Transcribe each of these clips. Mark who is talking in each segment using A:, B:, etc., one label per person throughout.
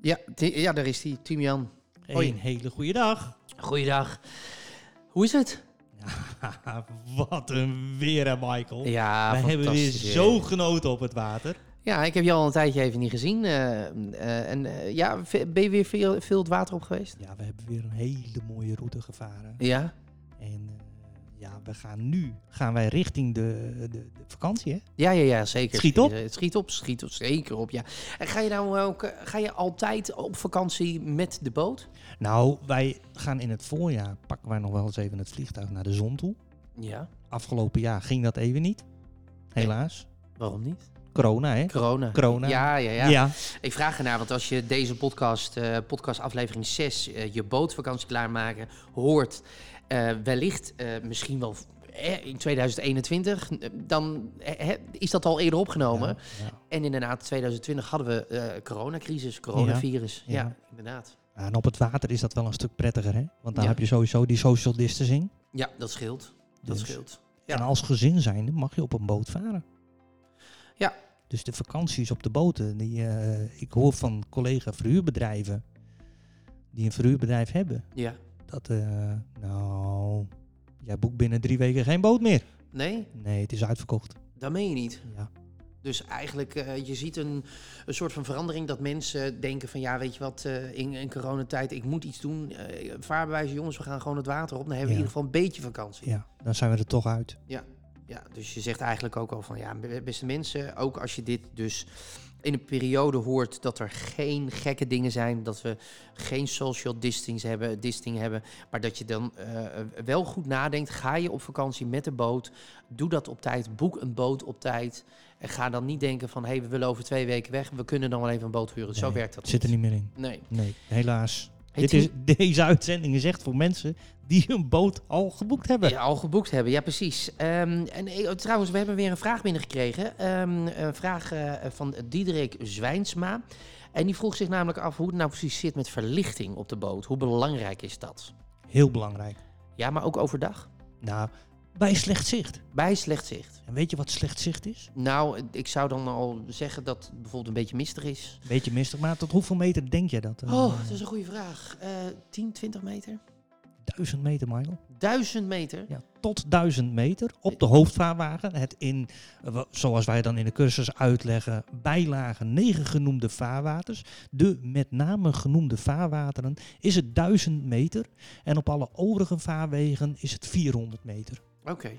A: Ja, Ti- ja, daar is hij, Timian. Hoi.
B: Een hele goede dag.
A: Goeiedag. Hoe is het?
B: Wat een weer, hè, Michael.
A: Ja,
B: Wij hebben weer
A: fantastisch
B: zo genoten op het water.
A: Ja, ik heb je al een tijdje even niet gezien. eh, eh, en eh, ja, ve- ben je weer veel, veel het water op geweest?
B: Ja, we hebben weer een hele mooie route gevaren.
A: Ja.
B: En eh, ja, we gaan nu gaan wij richting de, de, de vakantie, hè?
A: Ja, ja, ja, zeker.
B: Schiet op.
A: Eh, Schiet op, schiet op, zeker op, ja. En ga je nou ook, eh, ga je altijd op vakantie met de boot?
B: Nou, wij gaan in het voorjaar pakken wij nog wel eens even het vliegtuig naar de zon toe.
A: Ja.
B: Afgelopen jaar ging dat even niet. Helaas.
A: Waarom niet?
B: Corona, hè?
A: Corona.
B: Corona.
A: Ja, ja, ja.
B: ja.
A: Ik vraag ernaar, want als je deze podcast, eh, podcast aflevering 6, eh, je bootvakantie klaarmaken, hoort, eh, wellicht eh, misschien wel eh, in 2021, eh, dan eh, hè, is dat al eerder opgenomen.
B: Ja, ja.
A: En inderdaad, 2020 hadden we eh, coronacrisis, coronavirus. Ja,
B: Ja, ja.
A: inderdaad.
B: En op het water is dat wel een stuk prettiger, hè? Want daar
A: Ja.
B: heb je sowieso die social distancing.
A: Ja, dat scheelt. Dat
B: Dus-
A: scheelt. Ja.
B: En als gezin zijnde mag je op een boot varen.
A: Ja.
B: Dus de vakanties op de boten, die, eh, ik hoor van collega verhuurbedrijven, die een verhuurbedrijf hebben,
A: Ja.
B: dat, eh, nou, jij boekt binnen drie weken geen boot meer.
A: Nee,
B: Nee, het is uitverkocht.
A: dat meen je niet.
B: Ja,
A: Dus eigenlijk, eh, je ziet een, een soort van verandering dat mensen denken van... ja, weet je wat, eh, in, in coronatijd, ik moet iets doen. Eh vaarbewijs, jongens, we gaan gewoon het water op. Dan hebben we in
B: Ja.
A: ieder geval een beetje vakantie. Ja.
B: ja dan zijn we er toch uit.
A: dus je zegt eigenlijk ook al van... ja, b- beste mensen, ook als je dit dus in een periode hoort... dat er geen gekke dingen zijn, dat we geen social distancing hebben... Disting hebben maar dat je dan eh, wel goed nadenkt. Ga je op vakantie met de boot? Doe dat op tijd. Boek een boot op tijd. En ga dan niet denken van... hé, hey, we willen over twee weken weg. We kunnen dan wel even een boot huren. Zo
B: Nee,
A: werkt dat
B: Het zit er niet meer in.
A: Nee.
B: Nee, helaas.
A: Hey,
B: Dit is, deze uitzending is echt voor mensen die een boot al geboekt hebben.
A: Ja, al geboekt hebben, ja precies. Ehm, en eh, trouwens, we hebben weer een vraag binnengekregen. Ehm, een vraag eh, van Diederik Zwijnsma. En die vroeg zich namelijk af hoe het nou precies zit met verlichting op de boot. Hoe belangrijk is dat?
B: Heel belangrijk.
A: Ja, maar ook overdag?
B: Nou, bij slecht zicht.
A: Bij slecht zicht.
B: En weet je wat slecht zicht is?
A: Nou, ik zou dan al zeggen dat het bijvoorbeeld een beetje mistig is.
B: Beetje mistig, maar tot hoeveel meter denk jij dat? eh,
A: Oh, dat is een goede vraag. Eh 10, 20 meter?
B: Duizend meter, Michael.
A: 1000 meter?
B: Ja, tot duizend meter op de hoofdvaarwagen. Het in, eh, wa- zoals wij dan in de cursus uitleggen, bijlage negen genoemde vaarwaters. De met name genoemde vaarwateren is het duizend meter. En op alle overige vaarwegen is het 400 meter.
A: Oké.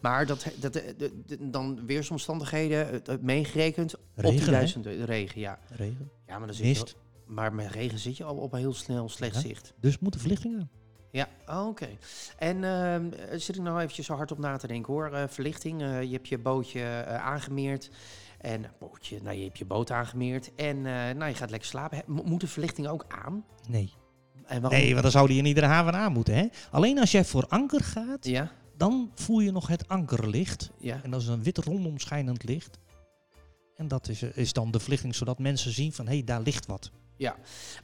A: Maar dat, dat, eh, de- de- dan weersomstandigheden eh, dat meegerekend op die
B: Regen, hè?
A: 1000 regen, ja.
B: Regen,
A: Ja, maar dan zit je
B: mist.
A: wel- maar met regen zit je al op heel snel slecht
B: Ja.
A: zicht.
B: Dus moet de verlichting aan.
A: Ja, oh, oké. En ehm, eh, zit ik nou eventjes zo hard op na te denken hoor. Eh, verlichting, eh, je hebt je bootje eh, aangemeerd. En bootje, nou je hebt je boot aangemeerd. En eh, nou, je gaat lekker slapen. Hè, mo- Moet de verlichting ook aan?
B: Nee.
A: En waarom?
B: nee, want dan zou die in iedere haven aan moeten. Hè? Alleen als jij voor anker gaat,
A: Ja,
B: dan voel je nog het ankerlicht.
A: ja.
B: En dat is een wit rondomschijnend licht. En dat is, eh, is dan de verlichting, zodat mensen zien van, hé, hey, daar ligt wat.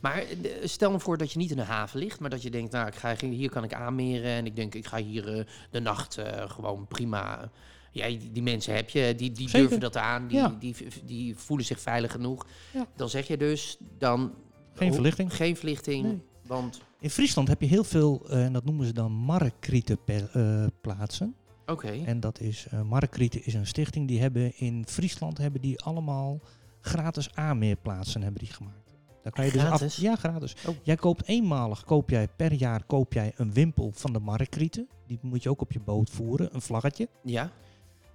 A: Maar eh, stel nou voor dat je niet in een haven ligt, maar dat je denkt, nou, ik ga, hier kan ik aanmeren en ik denk, ik ga hier eh, de nacht eh, gewoon prima. Ja, die, die mensen heb je, die, die
B: Zeker.
A: durven dat aan, die,
B: Ja.
A: die, die voelen zich veilig genoeg.
B: Ja.
A: Dan zeg je dus, dan...
B: Geen
A: oh,
B: verlichting.
A: Geen verlichting,
B: Nee.
A: want...
B: In Friesland heb je heel veel, eh, en dat noemen ze dan markrieten pe- eh, plaatsen.
A: Oké,
B: En dat is, eh markrieten is een stichting, die hebben in Friesland hebben die allemaal gratis aanmeerplaatsen hebben die gemaakt. Daar kan je dus af-
A: Gratis?
B: ja, gratis.
A: Oh.
B: Jij koopt eenmalig, koop jij per jaar koop jij een wimpel van de markrieten. Die moet je ook op je boot voeren, een vlaggetje.
A: ja.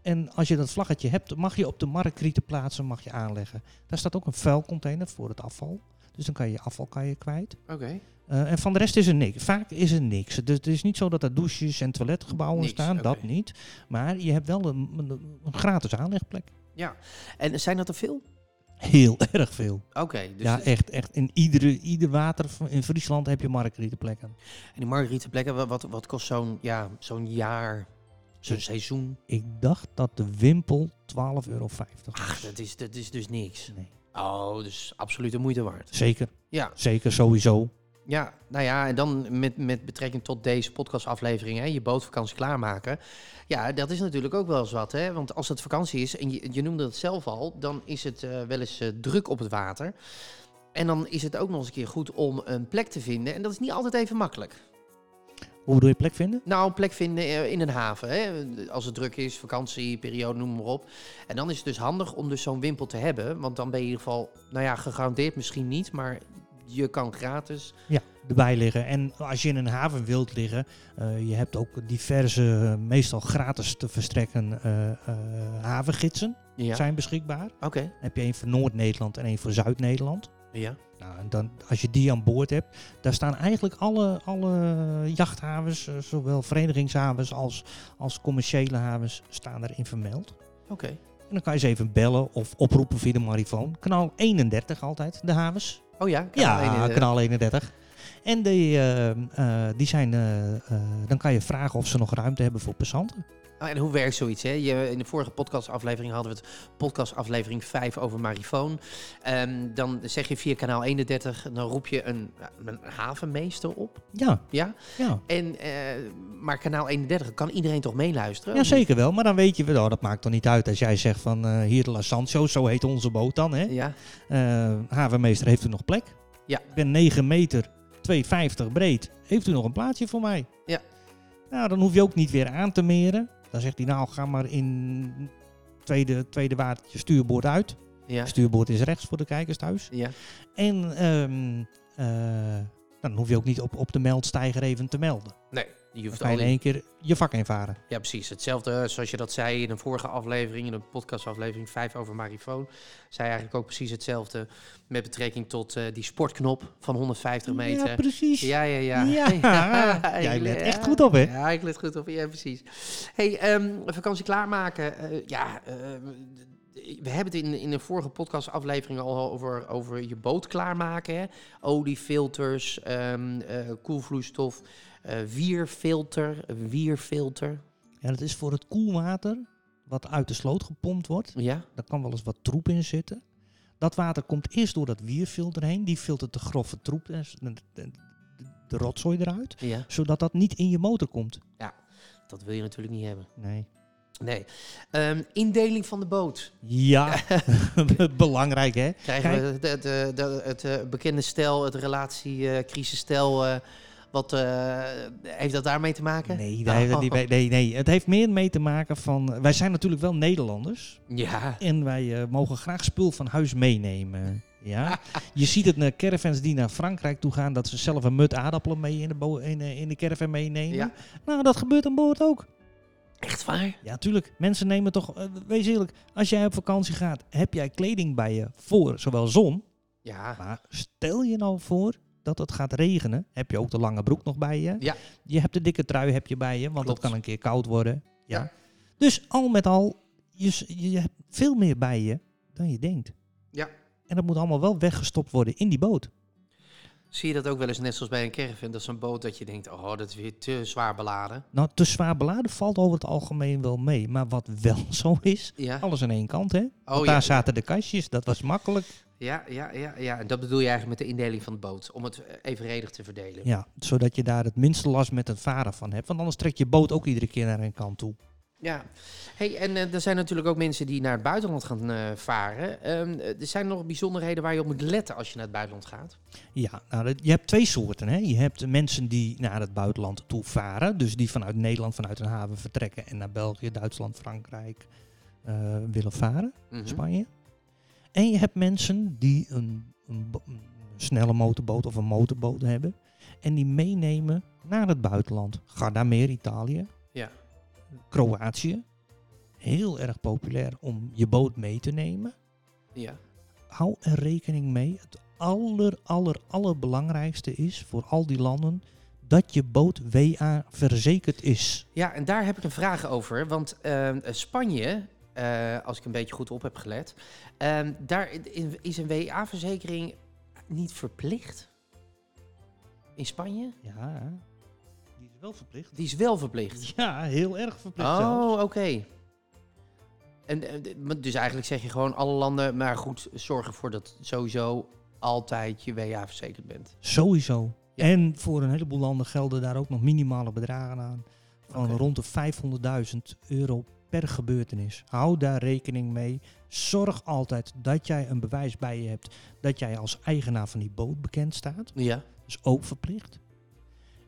B: En als je dat vlaggetje hebt, mag je op de markrieten plaatsen, mag je aanleggen. Daar staat ook een vuilcontainer voor het afval. Dus dan kan je je afval kan je kwijt.
A: Oké,
B: Eh, en van de rest is er niks. Vaak is er niks. Dus het is niet zo dat er douches en toiletgebouwen
A: Niks,
B: staan, dat
A: oké.
B: niet. Maar je hebt wel een, een- een gratis aanlegplek.
A: Ja. En zijn dat er veel?
B: Heel erg veel.
A: Oké. dus
B: ja, echt, echt. In iedere, ieder water van- in Friesland heb je markerietenplekken.
A: En die margarietenplekken, wa- wat, wat kost zo'n ja, zo'n jaar, zo'n seizoen?
B: Ik dacht dat de wimpel 12,50 euro
A: Ach,
B: was.
A: dat is, dat is dus niks.
B: Nee.
A: Oh, dus absoluut de moeite waard.
B: Zeker,
A: Ja,
B: zeker, sowieso.
A: ja, nou ja, en dan met, met betrekking tot deze podcastaflevering, hè, je bootvakantie klaarmaken. Ja, dat is natuurlijk ook wel eens wat, hè? Want als het vakantie is, en je, je noemde het zelf al, dan is het eh, wel eens eh, druk op het water. En dan is het ook nog eens een keer goed om een plek te vinden. En dat is niet altijd even makkelijk.
B: Hoe bedoel je plek vinden?
A: Nou, een plek vinden eh, in een haven. Hè? Als het druk is, vakantieperiode, noem maar op. En dan is het dus handig om dus zo'n wimpel te hebben. Want dan ben je in ieder geval, nou ja, gegarandeerd misschien niet, maar je kan gratis.
B: Ja, erbij liggen. En als je in een haven wilt liggen, eh, je hebt ook diverse, eh, meestal gratis te verstrekken eh, eh, havengidsen
A: Ja,
B: zijn beschikbaar.
A: oké.
B: Dan heb je één voor Noord-Nederland en één voor Zuid-Nederland.
A: Ja.
B: Nou, en dan, als je die aan boord hebt, daar staan eigenlijk alle, alle jachthavens, eh, zowel verenigingshavens als, als commerciële havens, staan erin vermeld.
A: Oké.
B: En dan kan je ze even bellen of oproepen via de marifoon. Kanaal 31 altijd, de havens.
A: Oh ja, kan
B: Ja,
A: alleen in de-
B: kanaal 31. En die, eh, eh, die zijn, eh, eh, dan kan je vragen of ze nog ruimte hebben voor passanten.
A: Ah, en hoe werkt zoiets? Hè? Je, in de vorige podcastaflevering hadden we het podcastaflevering 5 over Marifoon. Ehm, dan zeg je via kanaal 31, dan roep je een, een havenmeester op.
B: Ja,
A: Ja?
B: ja.
A: En, eh, maar kanaal 31, kan iedereen toch meeluisteren?
B: ja, zeker wel. Maar dan weet je wel, oh, dat maakt toch niet uit als jij zegt van eh, hier de La Sancho, zo heet onze boot dan. Hè?
A: Ja.
B: Eh, havenmeester, heeft u nog plek?
A: Ja.
B: Ik ben 9 meter, 2,50 breed. Heeft u nog een plaatsje voor mij?
A: Ja.
B: Nou, dan hoef je ook niet weer aan te meren. Dan zegt hij nou, ga maar in tweede, tweede waardje stuurboord uit.
A: Ja.
B: Stuurboord is rechts voor de kijkers thuis.
A: Ja.
B: En ehm, eh, nou, dan hoef je ook niet op, op de meldstijger even te melden.
A: Nee, je
B: Dan
A: hoeft
B: kan je in
A: alleen.
B: één keer je vak invaren.
A: Ja, precies. Hetzelfde eh, zoals je dat zei in een vorige aflevering, in de podcastaflevering 5 over Marifoon. Zei eigenlijk ook precies hetzelfde met betrekking tot eh, die sportknop van 150 meter.
B: Ja, precies.
A: Ja, ja, ja.
B: Ja, jij
A: Ik
B: let
A: le-
B: echt goed op, hè?
A: Ja, ik let goed op. Ja, precies. hey, ehm, vakantie klaarmaken. eh, ja, eh, we hebben het in, in de vorige podcastaflevering al over, over je boot klaarmaken. Hè? Oliefilters, ehm, eh, koelvloeistof, eh, wierfilter, een wierfilter.
B: Ja, dat is voor het koelwater wat uit de sloot gepompt wordt.
A: Ja,
B: Daar kan wel eens wat troep in zitten. Dat water komt eerst door dat wierfilter heen. Die filtert de grove troep, en s- en de, de- de rotzooi eruit.
A: ja.
B: Zodat dat niet in je motor komt.
A: Dat wil je natuurlijk niet hebben.
B: Nee.
A: Nee. Ehm, indeling van de boot.
B: Ja, belangrijk hè.
A: Krijgen we de, de, de- het eh, bekende stel, het relatiecrisisstel, wat eh, heeft dat daarmee te maken?
B: Nee, daar heeft het niet
A: Oh.
B: mee- nee, nee, het heeft meer mee te maken van... Wij zijn natuurlijk wel Nederlanders.
A: Ja,
B: En wij eh, mogen graag spul van huis meenemen. Ja? Je ziet het naar caravans die naar Frankrijk toe gaan... dat ze zelf een mut aardappelen mee in de, bo- in, eh, in de caravan meenemen.
A: Ja.
B: Nou, dat gebeurt aan boord ook.
A: echt waar?
B: Ja, tuurlijk. Mensen nemen toch... eh, wees eerlijk, als jij op vakantie gaat... heb jij kleding bij je voor zowel zon...
A: Ja,
B: maar stel je nou voor dat het gaat regenen... heb je ook de lange broek nog bij je.
A: Ja.
B: Je hebt de dikke trui heb je bij je... want
A: Klopt.
B: het kan een keer koud worden. Ja.
A: Ja.
B: Dus al met al, je, s- je hebt veel meer bij je dan je denkt.
A: ja.
B: En dat moet allemaal wel weggestopt worden in die boot.
A: Zie je dat ook wel eens net zoals bij een caravan? Dat is een boot dat je denkt, oh, dat is weer te zwaar beladen.
B: Nou, te zwaar beladen valt over het algemeen wel mee. Maar wat wel zo is,
A: Ja,
B: alles aan één kant, hè?
A: oh,
B: Want
A: ja.
B: daar zaten de kastjes, dat was makkelijk.
A: Ja, ja, ja, ja. En dat bedoel je eigenlijk met de indeling van de boot, om het eh, evenredig te verdelen.
B: Ja, zodat je daar het minste last met het varen van hebt. Want anders trekt je boot ook iedere keer naar een kant toe.
A: Ja, hey, en eh, er zijn natuurlijk ook mensen die naar het buitenland gaan eh, varen. Ehm, eh, er zijn nog bijzonderheden waar je op moet letten als je naar het buitenland gaat.
B: Ja, nou, dat- je hebt twee soorten. Hè? Je hebt mensen die naar het buitenland toe varen. Dus die vanuit Nederland, vanuit een haven vertrekken en naar België, Duitsland, Frankrijk eh, willen varen.
A: Mhm.
B: Spanje. En je hebt mensen die een, een, bo- een snelle motorboot of een motorboot hebben. En die meenemen naar het buitenland. Gardameer, Italië.
A: Ja.
B: Kroatië. Heel erg populair om je boot mee te nemen.
A: Ja.
B: Hou er rekening mee. Het aller, aller, allerbelangrijkste is voor al die landen dat je boot WA verzekerd is.
A: ja, en daar heb ik een vraag over. Want ehm, eh, Spanje eh, als ik een beetje goed op heb gelet. Ehm, daar in- is een WA-verzekering niet verplicht. In Spanje?
B: Ja, die is wel verplicht.
A: Die is wel verplicht.
B: Ja, heel erg verplicht
A: Oh,
B: zelfs.
A: oké. En eh, d- maar dus eigenlijk zeg je gewoon alle landen, maar goed, zorg ervoor dat sowieso altijd je WA verzekerd bent.
B: Sowieso.
A: Ja.
B: En voor een heleboel landen gelden daar ook nog minimale bedragen aan. Van
A: Oké.
B: rond de 500.000 euro per gebeurtenis. Hou daar rekening mee. Zorg altijd dat jij een bewijs bij je hebt dat jij als eigenaar van die boot bekend staat.
A: Ja.
B: is ook verplicht.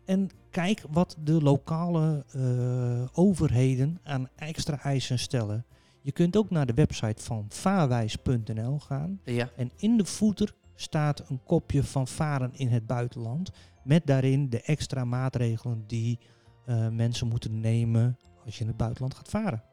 B: En kijk wat de lokale eh, overheden aan extra eisen stellen. Je kunt ook naar de website van vaarwijs.nl gaan.
A: Ja.
B: En in de voeter staat een kopje van varen in het buitenland. Met daarin de extra maatregelen die eh, mensen moeten nemen als je in het buitenland gaat varen.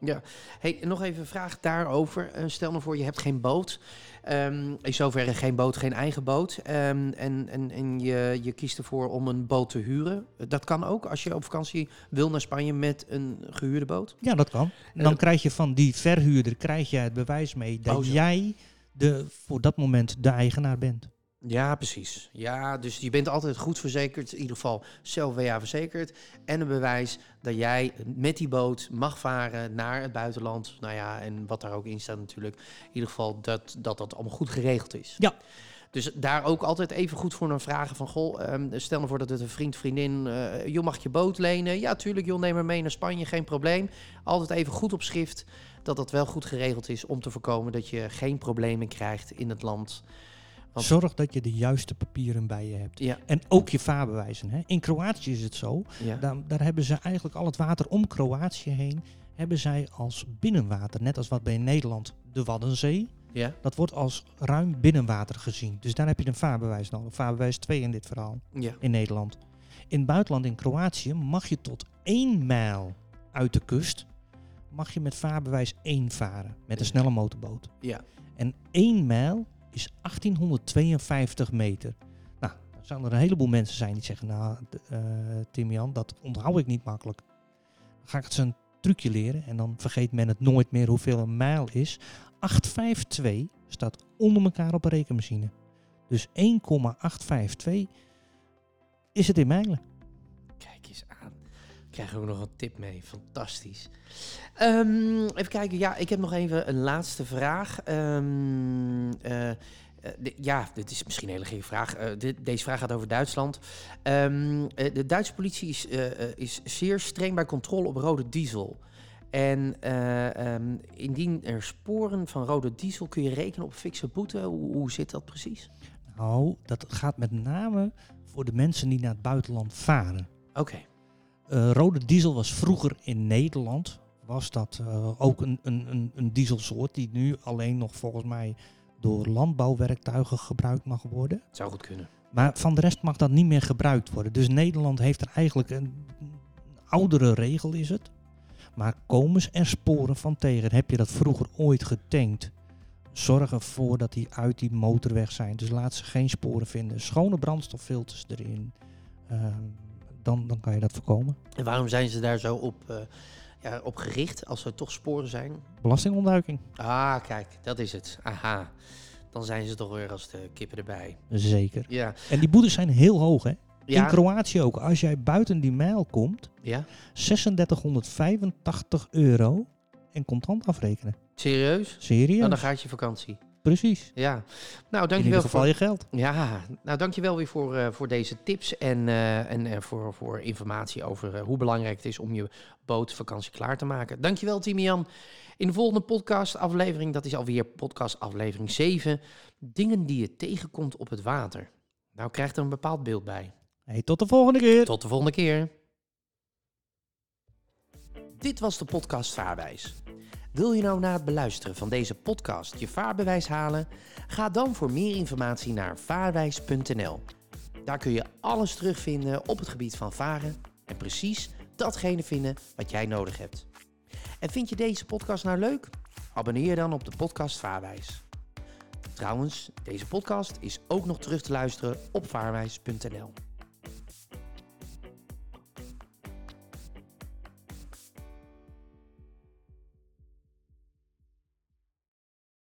A: Hey, nog even een vraag daarover. Eh, stel nou voor, je hebt geen boot. Ehm, in zoverre geen boot, geen eigen boot. Ehm, en en, en je, je kiest ervoor om een boot te huren. Dat kan ook als je op vakantie wil naar Spanje met een gehuurde boot.
B: Ja, dat kan. En
A: dat-
B: dan krijg je van die verhuurder krijg jij het bewijs mee dat
A: Eh, Oh, zo.
B: jij de, voor dat moment de eigenaar bent.
A: Ja, precies. Ja, dus je bent altijd goed verzekerd, in ieder geval zelf WA verzekerd. En een bewijs dat jij met die boot mag varen naar het buitenland. Nou ja, en wat daar ook in staat natuurlijk. In ieder geval dat dat, dat allemaal goed geregeld is.
B: Ja.
A: Dus daar ook altijd even goed voor naar vragen van... Goh, ehm, stel nou voor dat het een vriend, vriendin... eh joh, mag ik je boot lenen? Ja, tuurlijk, joh, neem maar mee naar Spanje, geen probleem. Altijd even goed op schrift dat dat wel goed geregeld is... om te voorkomen dat je geen problemen krijgt in het land. Want-
B: Zorg dat je de juiste papieren bij je hebt.
A: Ja,
B: En ook je vaarbewijzen. Hè. In Kroatië is het zo.
A: ja.
B: Daar, daar hebben ze eigenlijk al het water om Kroatië heen. Hebben zij als binnenwater. Net als wat bij Nederland de Waddenzee.
A: Ja,
B: Dat wordt als ruim binnenwater gezien. Dus daar heb je een vaarbewijs nodig. Vaarbewijs 2 in dit verhaal.
A: ja.
B: In Nederland. In het buitenland, in Kroatië, mag je tot 1 mijl uit de kust. Mag je met vaarbewijs 1 varen. Met een snelle motorboot.
A: ja.
B: En 1 mijl is 1852 meter. Nou, dan zullen er een heleboel mensen zijn die zeggen... Nou, d- eh Tim Jan, dat onthoud ik niet makkelijk. Dan ga ik het ze een trucje leren en dan vergeet men het nooit meer hoeveel een mijl is. 852 staat onder elkaar op een rekenmachine. Dus 1,852 is het in mijlen.
A: Kijk eens aan. Ik krijg ook nog een tip mee. Fantastisch. Ehm, even kijken. Ja, ik heb nog even een laatste vraag. Ehm, eh, eh, de- ja, dit is misschien een hele gekke vraag. Eh, dit- deze vraag gaat over Duitsland. Ehm, eh, de Duitse politie is, eh, eh, is zeer streng bij controle op rode diesel. En eh, ehm, indien er sporen van rode diesel, kun je rekenen op fikse boete. Hoe, hoe zit dat precies?
B: Nou, dat gaat met name voor de mensen die naar het buitenland varen.
A: Oké.
B: Eh, rode diesel was vroeger in Nederland was dat eh, ook een, een, een, een dieselsoort die nu alleen nog volgens mij door landbouwwerktuigen gebruikt mag worden.
A: Zou goed kunnen.
B: Maar van de rest mag dat niet meer gebruikt worden. Dus Nederland heeft er eigenlijk een, een oudere regel is het. Maar komen er sporen van tegen? Heb je dat vroeger ooit getankt? Zorg ervoor dat die uit die motor weg zijn. Dus laat ze geen sporen vinden. Schone brandstoffilters erin. Ehm, dan, dan kan je dat voorkomen.
A: En waarom zijn ze daar zo op, eh, ja, op gericht als er toch sporen zijn?
B: Belastingontduiking.
A: Ah, kijk, dat is het. Aha. Dan zijn ze toch weer als de kippen erbij.
B: Zeker.
A: Ja.
B: En die boetes zijn heel hoog, hè? In
A: Ja.
B: Kroatië ook. Als jij buiten die mijl komt,
A: ja.
B: 3685 euro en contant afrekenen.
A: Serieus?
B: Serieus?
A: Nou, dan gaat je vakantie.
B: Precies.
A: Ja. Nou,
B: In ieder
A: dankjewel
B: geval
A: voor...
B: je geld.
A: Ja, nou dankjewel weer voor, eh, voor deze tips en, eh, en eh, voor, voor informatie over eh, hoe belangrijk het is om je bootvakantie klaar te maken. Dankjewel Timian. In de volgende podcast aflevering, dat is alweer podcast aflevering 7, dingen die je tegenkomt op het water. Nou krijgt er een bepaald beeld bij.
B: Hey, tot de volgende keer.
A: Tot de volgende keer. Dit was de podcast Vaarwijs. Wil je nou na het beluisteren van deze podcast je vaarbewijs halen? Ga dan voor meer informatie naar vaarwijs.nl. Daar kun je alles terugvinden op het gebied van varen en precies datgene vinden wat jij nodig hebt. En vind je deze podcast nou leuk? Abonneer je dan op de podcast Vaarwijs. Trouwens, deze podcast is ook nog terug te luisteren op vaarwijs.nl.